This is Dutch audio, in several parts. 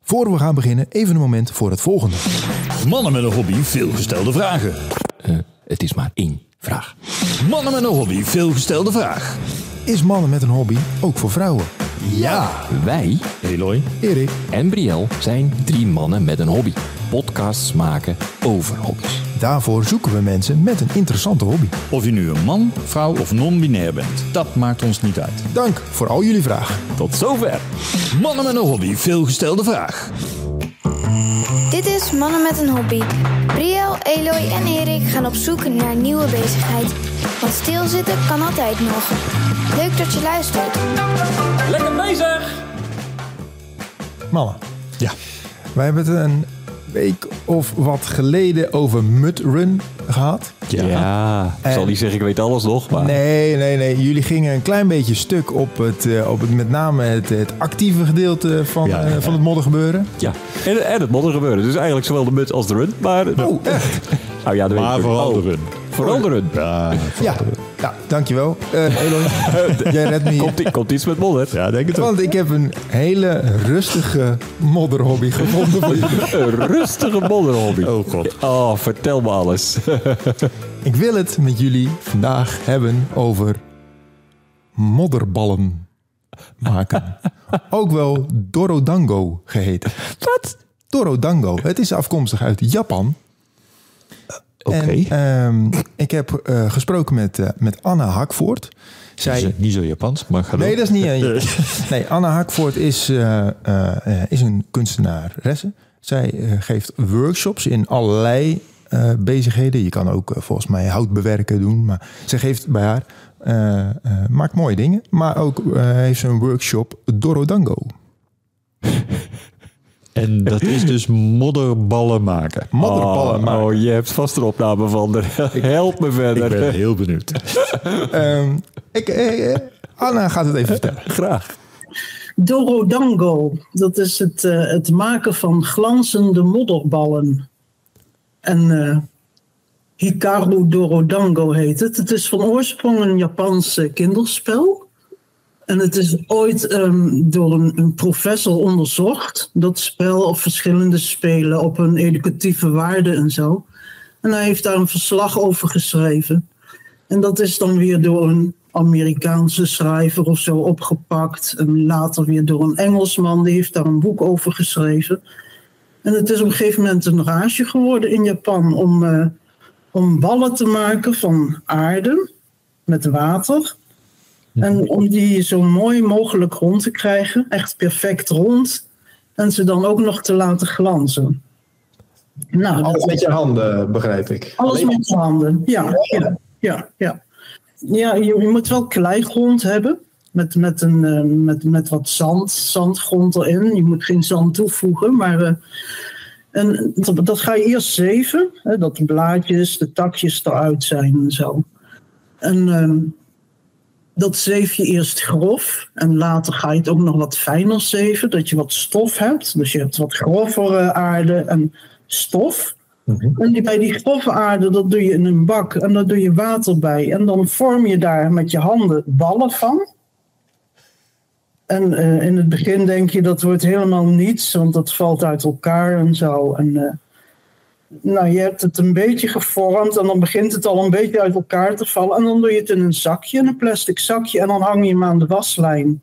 Voor we gaan beginnen, even een moment voor het volgende. Mannen met een hobby, veelgestelde vragen. Het is maar één vraag. Mannen met een hobby, veelgestelde vraag. Is mannen met een hobby ook voor vrouwen? Ja. Wij Eloy. Erik, en Brielle zijn drie mannen met een hobby. Podcasts maken over hobby's. daarvoor zoeken we mensen met een interessante hobby. Of je nu een man, vrouw of non-binair bent, dat maakt ons niet uit. Dank voor al jullie vragen. Tot zover. Mannen met een hobby, veelgestelde vraag. Dit is Mannen met een Hobby. Briel, Eloy en Erik gaan op zoek naar een nieuwe bezigheid. Want stilzitten kan altijd nog. Leuk dat je luistert. Lekker bezig! Mannen, Ja. wij hebben het een week of wat geleden over mudrun gehad. Ja. En- zal niet zeggen, ik weet alles nog, maar... Nee, nee, nee. Jullie gingen een klein beetje stuk op het, eh, op het met name het, het actieve gedeelte van, Ja, ja, eh, ja. van het moddergebeuren. Ja, en, en het modder gebeuren. Dus eigenlijk zowel de mut als de run, maar... Oh, echt? Nou ja, de Maar vooral de run. Oh. Vooral de run. Ja, Ja. Ja, dankjewel. Eh Elon, jij redt me hier. Komt, i- komt iets met modder. ja denk het Want ik heb een hele rustige modderhobby gevonden. voor jullie. Een rustige modderhobby. Oh god. Oh, vertel me alles. Ik wil het met jullie vandaag hebben over modderballen maken. Ook wel Dorodango geheten. Wat? Dorodango. Het is afkomstig uit Japan. Oké. En, ehm, ik heb eh, gesproken met, eh, met Anna Hakvoort. Zij Niet zo Japans, maar ga Nee, dat is niet aan je. Nee, Anna Hakvoort is, eh, eh, eh, is een kunstenaresse. Zij eh, geeft workshops in allerlei eh, bezigheden. Je kan ook eh, volgens mij houtbewerken doen. Maar zij geeft bij haar, eh, eh, maakt mooie dingen. Maar ook eh, heeft ze een workshop Dorodango. En dat is dus modderballen maken. Modderballen oh, maken. oh, je hebt vast een opname van. de- Help me verder. Ik ben heel benieuwd. Ehm, ik, eh, eh, Anna gaat het even vertellen. Graag. Dorodango, dat is het, eh, het maken van glanzende modderballen. En eh Hikaru Dorodango heet het. Het is van oorsprong een Japans eh, kinderspel. En het is ooit ehm, door een, een professor onderzocht, dat spel op verschillende spelen, op hun educatieve waarde en zo. En hij heeft daar een verslag over geschreven. En dat is dan weer door een Amerikaanse schrijver of zo opgepakt. En later weer door een Engelsman, die heeft daar een boek over geschreven. En het is op een gegeven moment een rage geworden in Japan om, eh, om ballen te maken van aarde met water. En om die zo mooi mogelijk rond te krijgen, echt perfect rond. En ze dan ook nog te laten glanzen. Nou, Alles met je eh, handen, begrijp ik. alles met je handen, ja. Ja, ja, ja. ja je, je moet wel kleigrond hebben. Met, met, een, eh, met, met wat zand, zandgrond erin. Je moet geen zand toevoegen, maar... eh, en dat, dat ga je eerst zeven. Hè, dat de blaadjes, de takjes eruit zijn en zo. En ehm, dat zeef je eerst grof. En later ga je het ook nog wat fijner zeven. Dat je wat stof hebt. Dus je hebt wat grover eh, aarde en stof. En die, bij die grove aarde, dat doe je in een bak en daar doe je water bij. En dan vorm je daar met je handen ballen van. En eh, in het begin denk je dat wordt helemaal niets, want dat valt uit elkaar en zo. En, eh, nou, je hebt het een beetje gevormd en dan begint het al een beetje uit elkaar te vallen. En dan doe je het in een zakje, in een plastic zakje, en dan hang je hem aan de waslijn.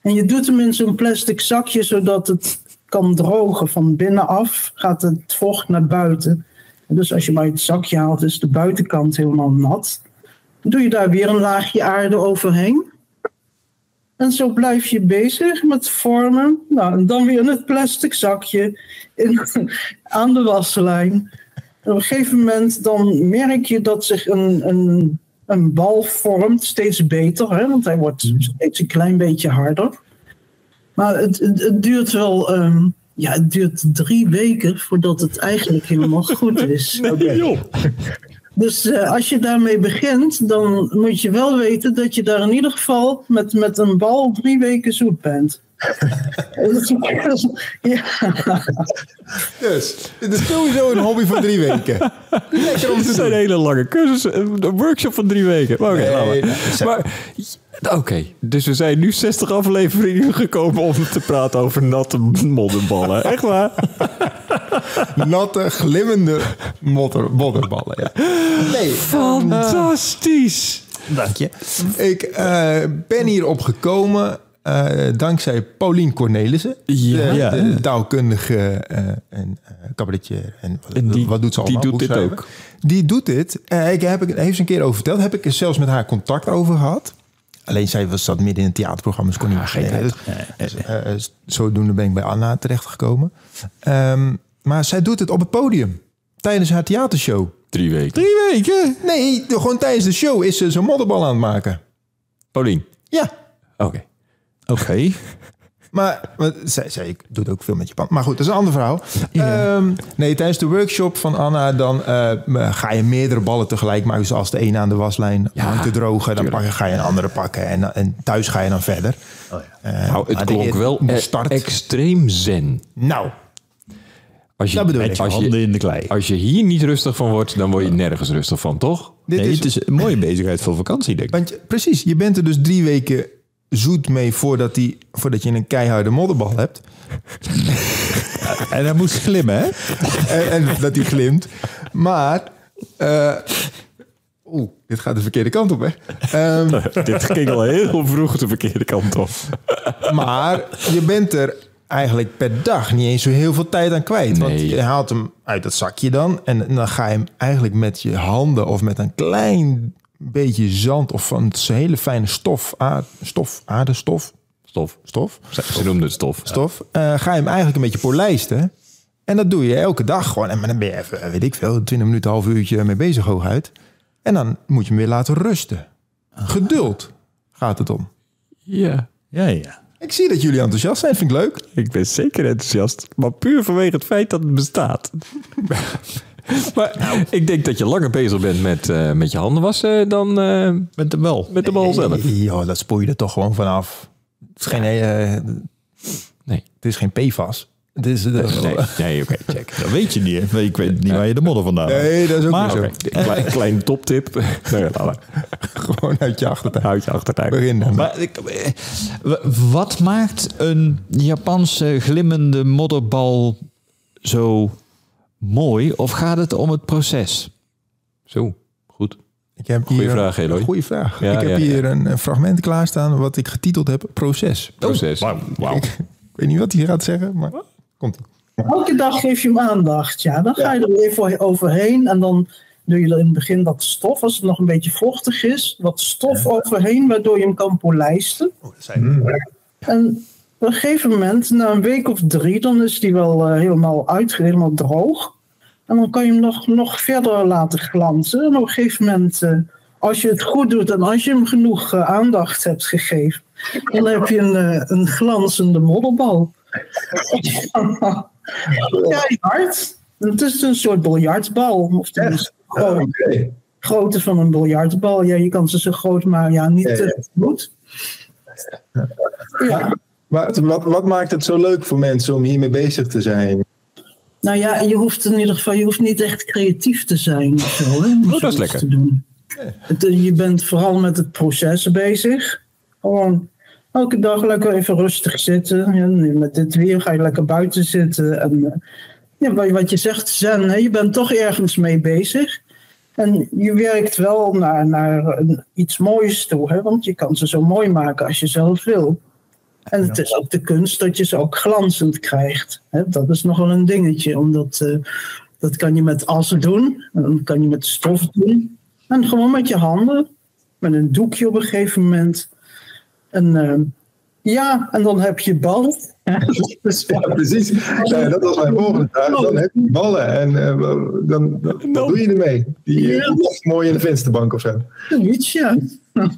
En je doet hem in zo'n plastic zakje, zodat het kan drogen. Van binnenaf gaat het vocht naar buiten. En dus als je maar het zakje haalt, is de buitenkant helemaal nat. Dan doe je daar weer een laagje aarde overheen. En zo blijf je bezig met vormen. Nou, en dan weer in het plastic zakje in, aan de waslijn. En op een gegeven moment dan merk je dat zich een, een, een bal vormt, steeds beter. Hè? Want hij wordt steeds een klein beetje harder. Maar het, het, het duurt wel. ehm, ja, het duurt drie weken voordat het eigenlijk helemaal goed is. Dus eh, als je daarmee begint, dan moet je wel weten dat je daar in ieder geval met, met een bal drie weken zoet bent. ja. Dus, dit is sowieso een hobby van drie weken. Lekker om Het te zijn doen. hele lange cursus. Een workshop van drie weken. Maar, oké, Nee, laat maar. nee, nee. maar Oké, Dus we zijn nu 60 afleveringen gekomen om te praten over natte modderballen. Echt waar? Natte, glimmende modder, modderballen. Ja. Nee, Fantastisch. dank je. Ik eh, ben hierop gekomen eh, dankzij Paulien Cornelissen. Ja. de, Ja. de taalkundige eh, en eh cabaretier. En wat, En die- wat doet ze die allemaal? doet dit Boekschrijver. ook. Die doet dit. Eh, ik heb, ik- heeft ze een keer over verteld. Heb ik er zelfs met haar contact over gehad. Alleen zij was zat midden in het theaterprogramma, dus kon Ah, niet meer geen dus, eh, eh, Zodoende ben ik bij Anna terechtgekomen. Ehm, maar zij doet het op het podium. Tijdens haar theatershow. drie weken. Drie weken. Nee, de- gewoon tijdens de show is ze zo'n modderbal aan het maken. Paulien. Ja. Oké. Oké. Maar, want zij, zij doet ook veel met Japan. Maar goed, dat is een ander verhaal. Ehm, nee, tijdens de workshop van Anna dan eh, ga je meerdere ballen tegelijk maken. Dus als de ene aan de waslijn hangt te drogen, dan pak, je- ga je een andere pakken. En, en thuis ga je dan verder. Eh, Nou, het maar de klonk eer- wel de e- start. extreem zen. nou, Als je, Dat bedoel als ik. je- Handen in de klei. Als je hier niet rustig van wordt, dan word je nergens rustig van, toch? dit Nee, is, het is een mooie bezigheid voor vakantie, denk ik. want je- precies, je bent er dus drie weken zoet mee voordat, die, voordat je een keiharde modderbal hebt. En hij moest glimmen, hè? en, en dat die glimt. Maar. eh, Oeh, dit gaat de verkeerde kant op, hè? Ehm, Dit ging al heel vroeg de verkeerde kant op. maar je bent er eigenlijk per dag niet eens zo heel veel tijd aan kwijt. Want Nee. je haalt hem uit dat zakje dan. En dan ga je hem eigenlijk met je handen of met een klein beetje zand of van het hele fijne stof, aard, stof aardestof, Stof. stof, Ze- Ze noemden het stof. stof, eh, ga je hem eigenlijk een beetje polijsten. En dat doe je elke dag gewoon. En maar dan ben je even, eh, weet ik veel, 20 minuten, half uurtje mee bezig hooguit. En dan moet je hem weer laten rusten. Ah. Geduld gaat het om. Ja. Ja, ja. Ik zie dat jullie enthousiast zijn, vind ik leuk. Ik ben zeker enthousiast, maar puur vanwege het feit dat het bestaat. Maar ik denk dat je langer bezig bent met, eh, met je handen wassen dan eh, Met de bal. met de bal zelf. Ja, dat spoel je er toch gewoon vanaf. Het is geen, eh, Nee. het is geen PFAS. Het is, Nee, nee oké, check. Dat weet je niet, hè? Ik weet niet waar je de modder vandaan haalt. Nee, dat is ook Maar niet zo. oké. Klein, klein toptip. Nou Nee, laat maar. Gewoon uit je achtertuin. Houd je achtertuin. Begin dan. Maar ik- eh, w- wat maakt een Japanse glimmende modderbal zo mooi? Of gaat het om het proces? Zo, goed. Ik heb Goeie hier een- vraag, Eloy. Goeie vraag. Ja, ik heb ja, ja. Oh, hier Een, een fragment klaarstaan wat ik getiteld heb Proces. Proces. Ik weet niet wat hij gaat zeggen, maar komt Elke dag geef je hem aandacht. Ja, dan ga je er weer voor overheen. En dan doe je er in het begin wat stof, als het nog een beetje vochtig is, wat stof overheen, waardoor je hem kan polijsten. En op een gegeven moment, na een week of drie, dan is die wel eh, helemaal uit, helemaal droog. En dan kan je hem nog, nog verder laten glanzen. En op een gegeven moment, eh, als je het goed doet en als je hem genoeg eh, aandacht hebt gegeven, dan heb je een, eh, een glanzende modderbal. Ja, hard. Het is een soort biljartbal. Of tenminste, Oké. gewoon grootte van een biljartbal. Ja, je kan ze zo groot, maar ja, niet Ja, ja. te goed. Ja. Maar wat, wat maakt het zo leuk voor mensen om hiermee bezig te zijn? Nou ja, je hoeft in ieder geval je hoeft niet echt creatief te zijn. Of zo, hè, om Oh, dat is zoiets lekker. Te doen. Het, eh, je bent vooral met het proces bezig. Gewoon elke dag lekker even rustig zitten. Ja, nu met dit weer ga je lekker buiten zitten. En, eh, ja, wat- wat je zegt, zen, hè, je bent toch ergens mee bezig. En je werkt wel naar, naar een- iets moois toe, hè, want je kan ze zo mooi maken als je zelf wil. En het is ook de kunst dat je ze ook glanzend krijgt. Hè? Dat is nogal een dingetje, omdat eh, dat kan je met assen doen, en dat kan je met stof doen. En gewoon met je handen, met een doekje op een gegeven moment. En eh, ja, en dan heb je bal. Dus- Ja, precies. Ja, dat was mijn volgende vraag. Dan heb je ballen en eh, dan, dan, wat doe je ermee? Die eh, die ligt mooi in de vensterbank of zo. Zoiets, ja. Dat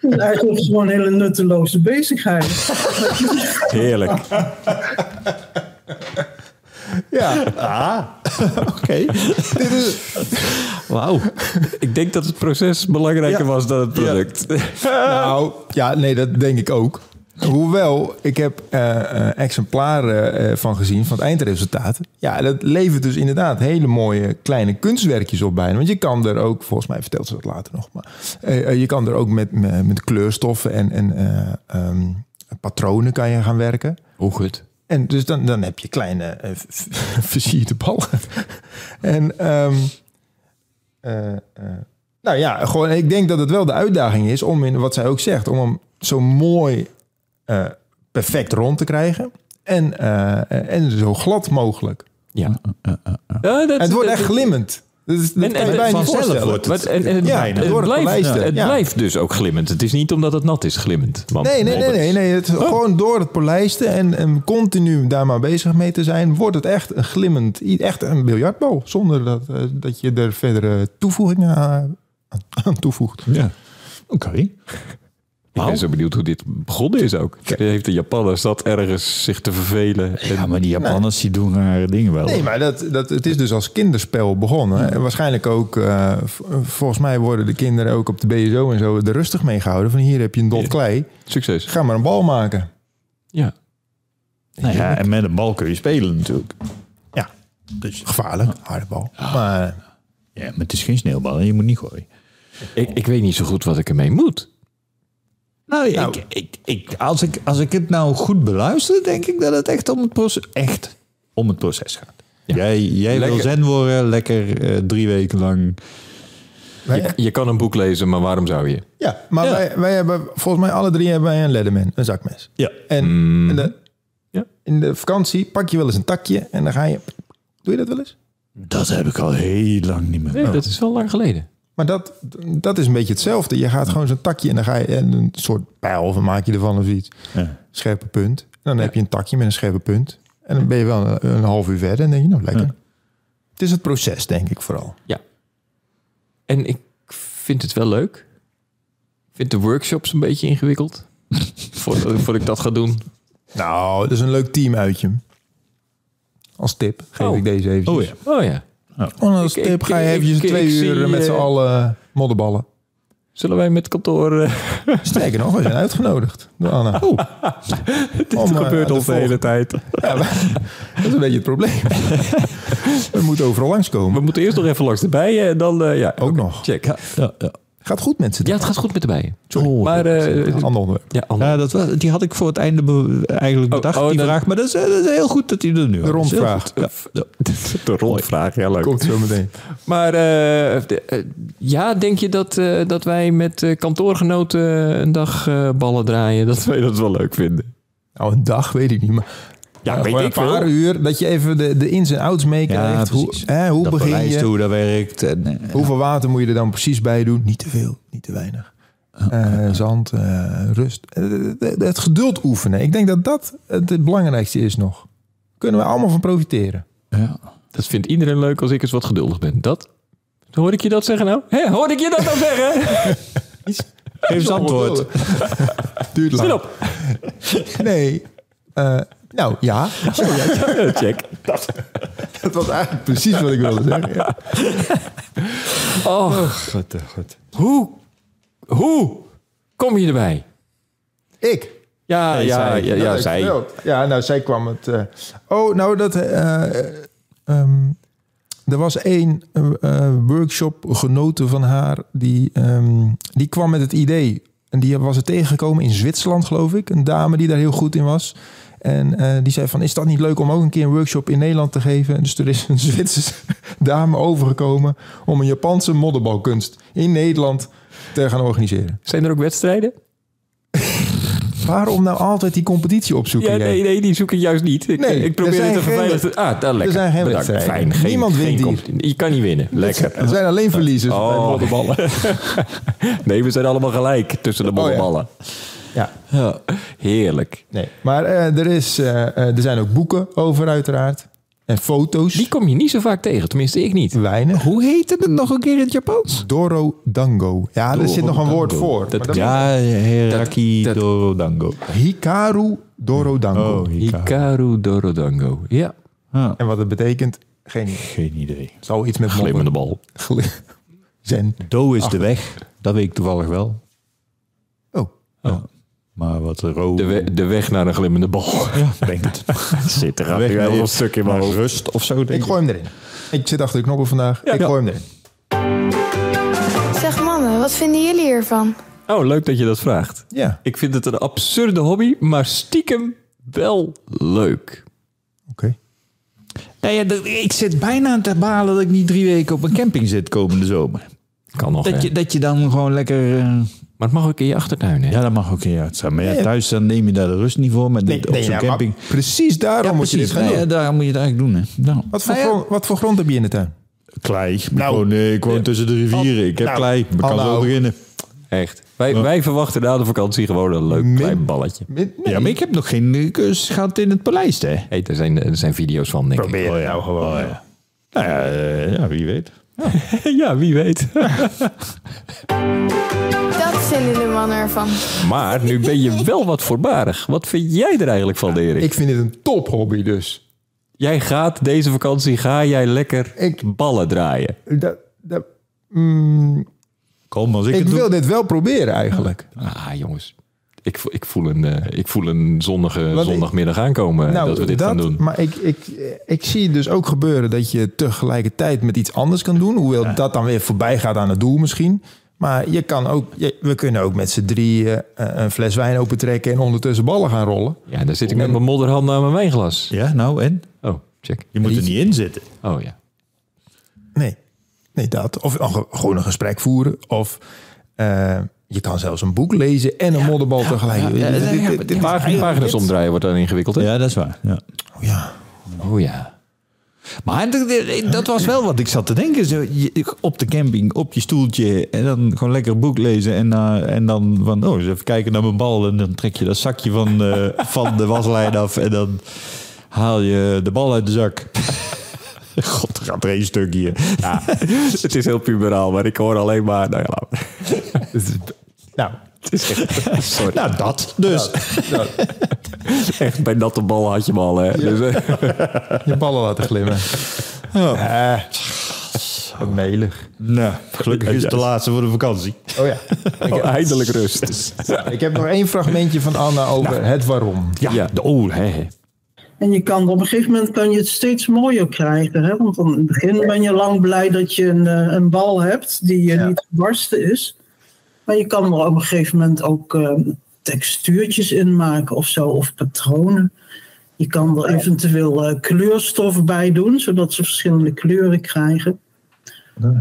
is Eigenlijk gewoon een hele nutteloze bezigheid. Heerlijk. Ja, Oké. Wauw. Ik denk dat het proces belangrijker was dan het product. nou, ja, nee, dat denk ik ook. Hoewel, ik heb eh, eh, exemplaren eh, van gezien van het eindresultaat. Ja, dat levert dus inderdaad hele mooie kleine kunstwerkjes op bijna. Want je kan er ook, volgens mij vertelt ze dat later nog, maar eh, eh, je kan er ook met, met, met kleurstoffen en, en eh, ehm, patronen kan je gaan werken. Hoe goed. En dus dan, dan heb je kleine eh, v- versierde ballen. en ehm, eh, eh, nou ja, gewoon, ik denk dat het wel de uitdaging is om in wat zij ook zegt, om hem zo mooi eh, perfect rond te krijgen. En, eh, en zo glad mogelijk. Ja. Ja, dat, En het wordt dat- echt glimmend. Dat is, dat En- kan en je bijna niet vanzelf voorstellen. wordt Wat, en, en het, Ja, het, het wordt een blijft, polijster. het Ja. blijft dus ook glimmend. Het is niet omdat het nat is glimmend. Want Nee, nee, nee, nee. nee. Het, Gewoon door het polijsten en, en continu daar maar bezig mee te zijn, wordt het echt een glimmend, i- echt een biljartbal. Zonder dat, eh, dat je er verdere toevoegingen aan, aan toevoegt. Ja. Oké. Ik ben zo benieuwd hoe dit begonnen is ook. Heeft de Japaner zat ergens zich te vervelen? En, Ja, maar die Japanners die doen rare dingen wel. Nee, maar dat, dat, het is dus als kinderspel begonnen. En waarschijnlijk ook, eh, v- volgens mij worden de kinderen ook op de BSO en zo er rustig mee gehouden. Van hier heb je een dot klei, Succes. ga maar een bal maken. Ja. Nou ja, en met een bal kun je spelen natuurlijk. Ja, gevaarlijk, harde bal. Maar dus- Ja, maar het is geen sneeuwbal en je moet niet gooien. Ik, ik weet niet zo goed wat ik ermee moet. Nou, Ik, ik, ik, als, ik, als ik het nou goed beluister, denk ik dat het echt om het proces, echt om het proces gaat. Jij, jij wil Lekker. zen worden, lekker eh, drie weken lang. wij, Je kan een boek lezen, maar waarom zou je? Ja, maar Ja. Wij, wij hebben, volgens mij alle drie hebben wij een Leatherman, een zakmes. Ja. En in, de, Ja. in de vakantie pak je wel eens een takje en dan ga je... Doe je dat wel eens? Dat heb ik al heel lang niet meer. Nee, dat is wel lang geleden. Maar dat, dat is een beetje hetzelfde. Je gaat gewoon zo'n takje en dan ga je en een soort pijl of een maak je ervan of iets. Ja. Scherpe punt. En dan heb je een takje met een scherpe punt. En dan ben je wel een, een half uur verder en denk je, nou lekker. Het is het proces, denk ik vooral. Ja. En ik vind het wel leuk. Ik vind de workshops een beetje ingewikkeld. voordat, voordat ik dat ga doen. Nou, dat is een leuk team uitje. Als tip geef Oh. ik deze even. Oh ja. Oh ja. Oh, als Ik- tip ik- ga je ik- eventjes ik- ik twee zie, uur met z'n eh, allen modderballen. Zullen wij met kantoor... eh, Sterker nog, we zijn uitgenodigd door Anna. Oh. Dit gebeurt al eh, de hele tijd. Dat is een beetje het probleem. we moeten overal langskomen. We moeten eerst nog even langs de bijen en dan... eh, ja, Ook nog. check. Ja, Ja, ja. Gaat goed mensen. het gaat goed met de bijen. Oh, maar... eh, Een ander onderwerp. ja, ander- Ja, dat was, die had ik voor het einde be- eigenlijk bedacht, oh, die dat- vraag. Maar dat is, eh, dat is heel goed dat hij er nu De rondvraag. Ja. Ja. De rondvraag, ja leuk. Komt zo meteen. Maar eh, de- eh, ja, denk je dat, eh, dat wij met eh, kantoorgenoten een dag eh, ballen draaien? Dat wij dat wel leuk vinden. Nou, een dag weet ik niet. Maar Ja, maar weet gewoon ik een paar veel. uur. Dat je even de, de ins en outs Ja, meekrijgt. hoe precies. hè, hoe dat begin bewijst je? hoe dat werkt. En, eh, Hoeveel water moet je er dan precies bij doen? Niet te veel, niet te weinig. Eh, zand, eh, rust. Eh, het- het geduld oefenen. Ik denk dat dat het het belangrijkste is nog. Kunnen we allemaal van profiteren. ja. Dat vindt iedereen leuk als ik eens wat geduldig ben. Dat? Hoor ik je dat zeggen nou? Hè, hoor ik je dat nou zeggen? Geef eens antwoord. Duurt Zit lang. op. Nee. Eh, nou ja, Check. dat was eigenlijk precies wat ik wilde zeggen. Ja. Oh, Hoe? Hoe? Kom je erbij? Ik. Ja, ja, zij. ja, Dat ja, heb ik zij. verteld. Ja, nou, zij kwam het. eh, oh, nou, dat. eh, ehm, er was één eh, eh, workshop genoten van haar. Die, ehm, die kwam met het idee. En die was er tegengekomen in Zwitserland, geloof ik. Een dame die daar heel goed in was. En eh, die zei van, is dat niet leuk om ook een keer een workshop in Nederland te geven? En dus er is een Zwitserse dame overgekomen... om een Japanse modderbalkunst in Nederland te gaan organiseren. Zijn er ook wedstrijden? Waarom nou altijd die competitie opzoeken? Ja, jij? nee, nee, die zoek ik juist niet. Ik, Nee, ik er probeer zijn het te geen verveiligen. Ah, daar lekker. zijn geen Bedankt. wedstrijden. Fijn. Geen, Niemand geen wint die. competitie. Je kan niet winnen. Lekker. Er zijn alleen verliezers bij Oh. modderballen. Nee, we zijn allemaal gelijk tussen de ja. bollenballen. Ja, Oh, Ja. Heerlijk. nee. Maar eh, er, is, eh, eh, er zijn ook boeken over uiteraard. En foto's. Die kom je niet zo vaak tegen, tenminste ik niet. Weinig. Hoe heette het nog een keer in het Japans? Doro Dango. Ja, er zit nog een woord voor. Dat- maar dat- Ja, Heraki dat- Dorodango. Hikaru Doro Dango. Hikaru Dorodango. Ja. En wat het betekent, geen idee. Geen idee. Het zal iets met Glimmende bal. modder- Glim- Zen. Do is de weg. Dat weet ik toevallig wel. Oh, Maar wat rood. De, we- de weg naar een glimmende bal. Ja, denk het. Zit er gaat Weg weer naar- een heel stuk in mijn naar hoofd. Rust of zo, Ik denk ik. gooi hem erin. Ik zit achter de knoppen vandaag. ik ja. gooi hem erin. Zeg mannen, wat vinden jullie hiervan? Oh, leuk dat je dat vraagt. Ja, Ik vind het een absurde hobby, maar stiekem wel leuk. oké. Nou ja, dat- ik zit bijna te balen dat ik niet drie weken op een camping zit komende zomer. Kan nog, Dat hè? je, dat je dan gewoon lekker... eh, Maar het mag ook in je achtertuin, hè? Ja, dat mag ook in je uitzijn. Maar ja, thuis dan neem je daar de rust niet voor. Maar dit, op zo'n ja, maar camping... precies daarom Ja, moet je dit precies. gaan Nou doen. ja, daar moet je het eigenlijk doen. Hè. Nou, Wat voor, nou ja, grond, wat voor grond heb je in de tuin? Klei. Ik woon, eh, ik woon tussen de rivieren. Ik heb nou, klei. Ik kan hallo. zo beginnen. Echt. Wij, wij verwachten na de vakantie gewoon een leuk klein balletje. Min- nee. Ja, maar ik heb nog geen eh, kus gehad in het paleis, hè? Hey, er, zijn, er zijn video's van, denk Probeer het nou gewoon. ja. Nou ja, eh, ja, wie weet. ik. Ja, wie weet. Dat vinden de mannen ervan. Maar nu ben je wel wat voorbarig. Wat vind jij er eigenlijk van, Erik? Ik vind dit een tophobby dus. Jij gaat deze vakantie ga jij lekker Ik- ballen draaien. Dat, dat, mm, Kom, als ik, ik het doe. wil dit wel proberen eigenlijk. Ah, jongens. Ik, vo- ik, voel, een, eh, ik voel een zonnige Wat- zondagmiddag aankomen eh, Nou, dat we dit gaan doen. Maar ik, ik, ik zie dus ook gebeuren dat je tegelijkertijd met iets anders kan doen. Hoewel dat dan weer voorbij gaat aan het doel misschien. Maar je kan ook, je- we kunnen ook met z'n drieën eh, een fles wijn opentrekken en ondertussen ballen gaan rollen. Ja, daar zit ik met mijn modderhanden aan mijn wijnglas. Ja, nou en? Oh, check. Je moet er niet in zitten. Oh ja. Nee, nee dat. Of een ge- gewoon een gesprek voeren. Of eh, je kan zelfs een boek lezen en een modderbal tegelijk. Dit- dit- dit- dit- Pagina, pagina's omdraaien wordt dan ingewikkeld. hè? Ja, dat is waar. Ja. Oh ja. Oh ja. Maar d- d- dat was wel wat ik zat te denken. Zo, je- op de camping, op je stoeltje. En dan gewoon lekker een boek lezen. En, eh, en dan van, oh, eens even kijken naar mijn bal. En dan trek je dat zakje van, eh, van de waslijn af. En dan haal je de bal uit de zak. God, er gaat er één stuk hier. ja. het is heel puberaal, maar ik hoor alleen maar... Nou ja, laat- Nou, het is echt... Sorry. Nou, dat dus. Echt, bij natte bal had je hem al, hè? Dus, eh, je ballen laten glimmen. Eh, wat melig. Nou, gelukkig is het de laatste voor de vakantie. Oh ja. Ik heb- eindelijk rust. Ik heb nog één fragmentje van Anna over het waarom. Ja, de oeh, hè, hè. En je kan, op een gegeven moment kan je het steeds mooier krijgen. Hè? Want dan in het begin ben je lang blij dat je een, eh, een bal hebt die eh, niet gebarsten is. Maar je kan er op een gegeven moment ook eh, textuurtjes in maken of zo, of patronen. Je kan er eventueel eh, kleurstof bij doen, zodat ze verschillende kleuren krijgen.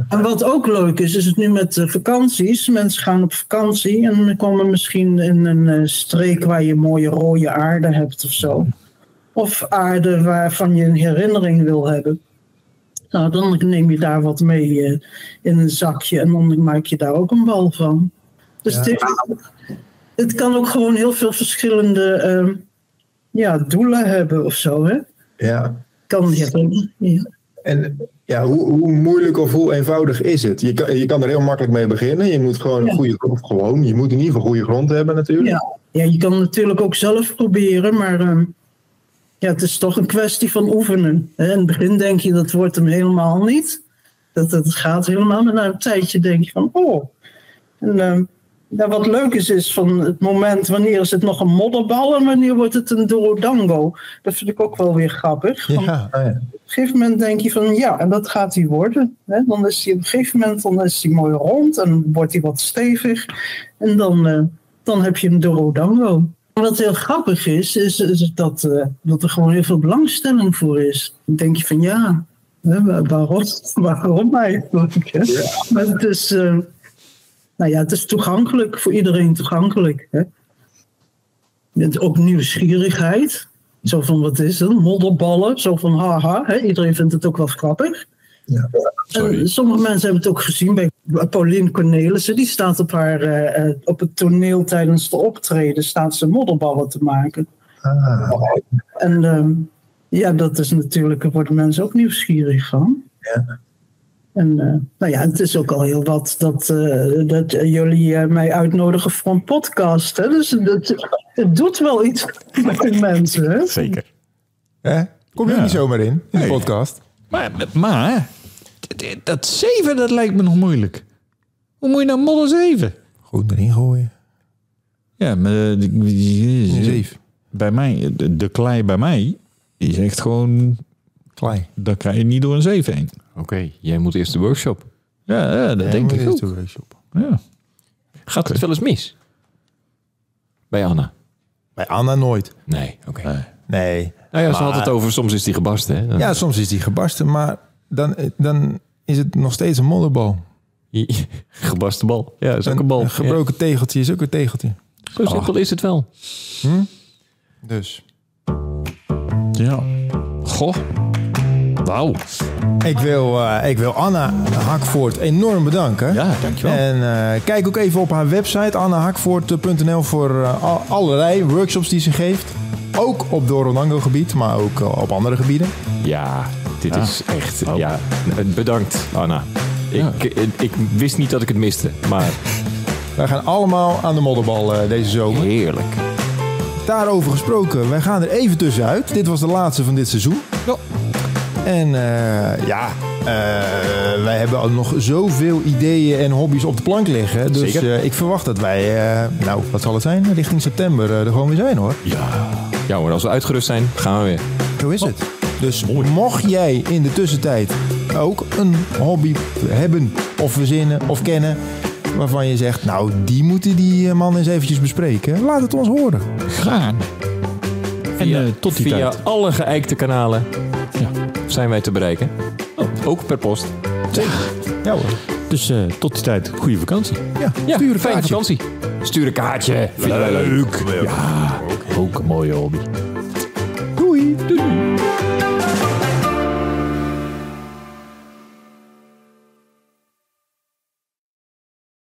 En wat ook leuk is, is het nu met eh, vakanties. Mensen gaan op vakantie en komen misschien in een eh, streek waar je mooie rode aarde hebt of zo of aarde waarvan je een herinnering wil hebben. Nou, dan neem je daar wat mee eh, in een zakje en dan maak je daar ook een bal van. Dus het, heeft- het kan ook gewoon heel veel verschillende ehm, ja, doelen hebben of zo. Hè? Ja. Kan hebben. Ja. En ja, hoe, hoe moeilijk of hoe eenvoudig is het? Je kan, je kan er heel makkelijk mee beginnen. Je moet gewoon een Ja. goede grond, gewoon, je moet in ieder geval goede grond hebben natuurlijk. Ja. ja, je kan het natuurlijk ook zelf proberen, maar ehm, ja, het is toch een kwestie van oefenen. Hè? In het begin denk je dat wordt hem helemaal niet. Dat het gaat helemaal, maar na een tijdje denk je van oh. En, ehm, nou, wat leuk is, is van het moment wanneer is het nog een modderbal en wanneer wordt het een dorodango. Dat vind ik ook wel weer grappig. Van, Ja. Ah, ja. op een gegeven moment denk je van ja, en dat gaat hij worden. Hè? Dan is hij op een gegeven moment dan is hij mooi rond en wordt hij wat stevig. En dan, eh, dan heb je hem de Rodango. Wat heel grappig is, is, is dat, eh, dat er gewoon heel veel belangstelling voor is. Dan denk je van ja, hè, wa- waarom, waarom eigenlijk? Hè? Maar het is, eh, nou ja, het is toegankelijk, voor iedereen toegankelijk. Hè? Met ook nieuwsgierigheid. Zo van, wat is het? Modderballen. Zo van, haha. Hè? Iedereen vindt het ook wel grappig. Sorry. En sommige mensen hebben het ook gezien bij Pauline Cornelissen. Die staat op, haar, eh, eh, op het toneel tijdens de optreden. Staat ze modderballen te maken. En ehm, ja, dat is natuurlijk... Daar worden mensen ook nieuwsgierig van. En eh, nou ja, het is ook al heel wat dat, eh, dat eh, jullie eh, mij uitnodigen voor een podcast. Hè? Dus dat, het doet wel iets met mensen. Hè? Zeker. Hè? Kom je niet zomaar in, in de podcast? Maar, maar d- d- dat zeven, dat lijkt me nog moeilijk. Hoe moet je nou modder zeven? Goed erin gooien. Ja, maar eh, die- die- Zeef. bij mij, de, de klei bij mij, die is echt gewoon, Klei. daar kan je niet door een zeef heen. Oké, jij moet eerst de workshop. Ja, ja, dat denk ik ook. Ja. Gaat het wel eens mis? Bij Anna? Bij Anna nooit. Nee, oké. Nee. Nou ja, ze had het over, soms is die gebarsten. Hè? Dan- Ja, soms is die gebarsten, maar dan, dan is het nog steeds een modderbal. Gebarsten bal. Ja, is ook Een- een bal. Een gebroken tegeltje is ook een tegeltje. Ja. Zo simpel is het wel. Dus. ja. Goh. Wauw. Ik wil, eh, ik wil Anna Hakvoort enorm bedanken. Ja, dankjewel. En eh, kijk ook even op haar website annahakvoort.nl voor eh, al- allerlei workshops die ze geeft. Ook op Doronango gebied, maar ook eh, op andere gebieden. Ja, dit is echt... Ja, bedankt Anna. Ik, ik, ik wist niet dat ik het miste, maar Wij gaan allemaal aan de modderbal eh, deze zomer. heerlijk. Daarover gesproken, wij gaan er even tussenuit. Dit was de laatste van dit seizoen. En eh, ja, eh, wij hebben ook nog zoveel ideeën en hobby's op de plank liggen. Dus Zeker. eh, ik verwacht dat wij, eh, nou, wat zal het zijn? Richting september eh, er gewoon weer zijn hoor. Ja hoor, als we uitgerust zijn, gaan we weer. Zo is het. Dus mocht jij in de tussentijd ook een hobby hebben of verzinnen of kennen... waarvan je zegt, nou, die moeten die eh, man eens eventjes bespreken. Laat het ons horen. Gaan. En eh, tot die Via tijd. alle geëikte kanalen zijn wij te bereiken. Ook per post. Ja hoor. Dus eh, tot die tijd, goede vakantie. Ja, Ja, stuur een fijne kaartje. vakantie. Stuur een kaartje. Vind je dat leuk? Ook een mooie hobby. Doei.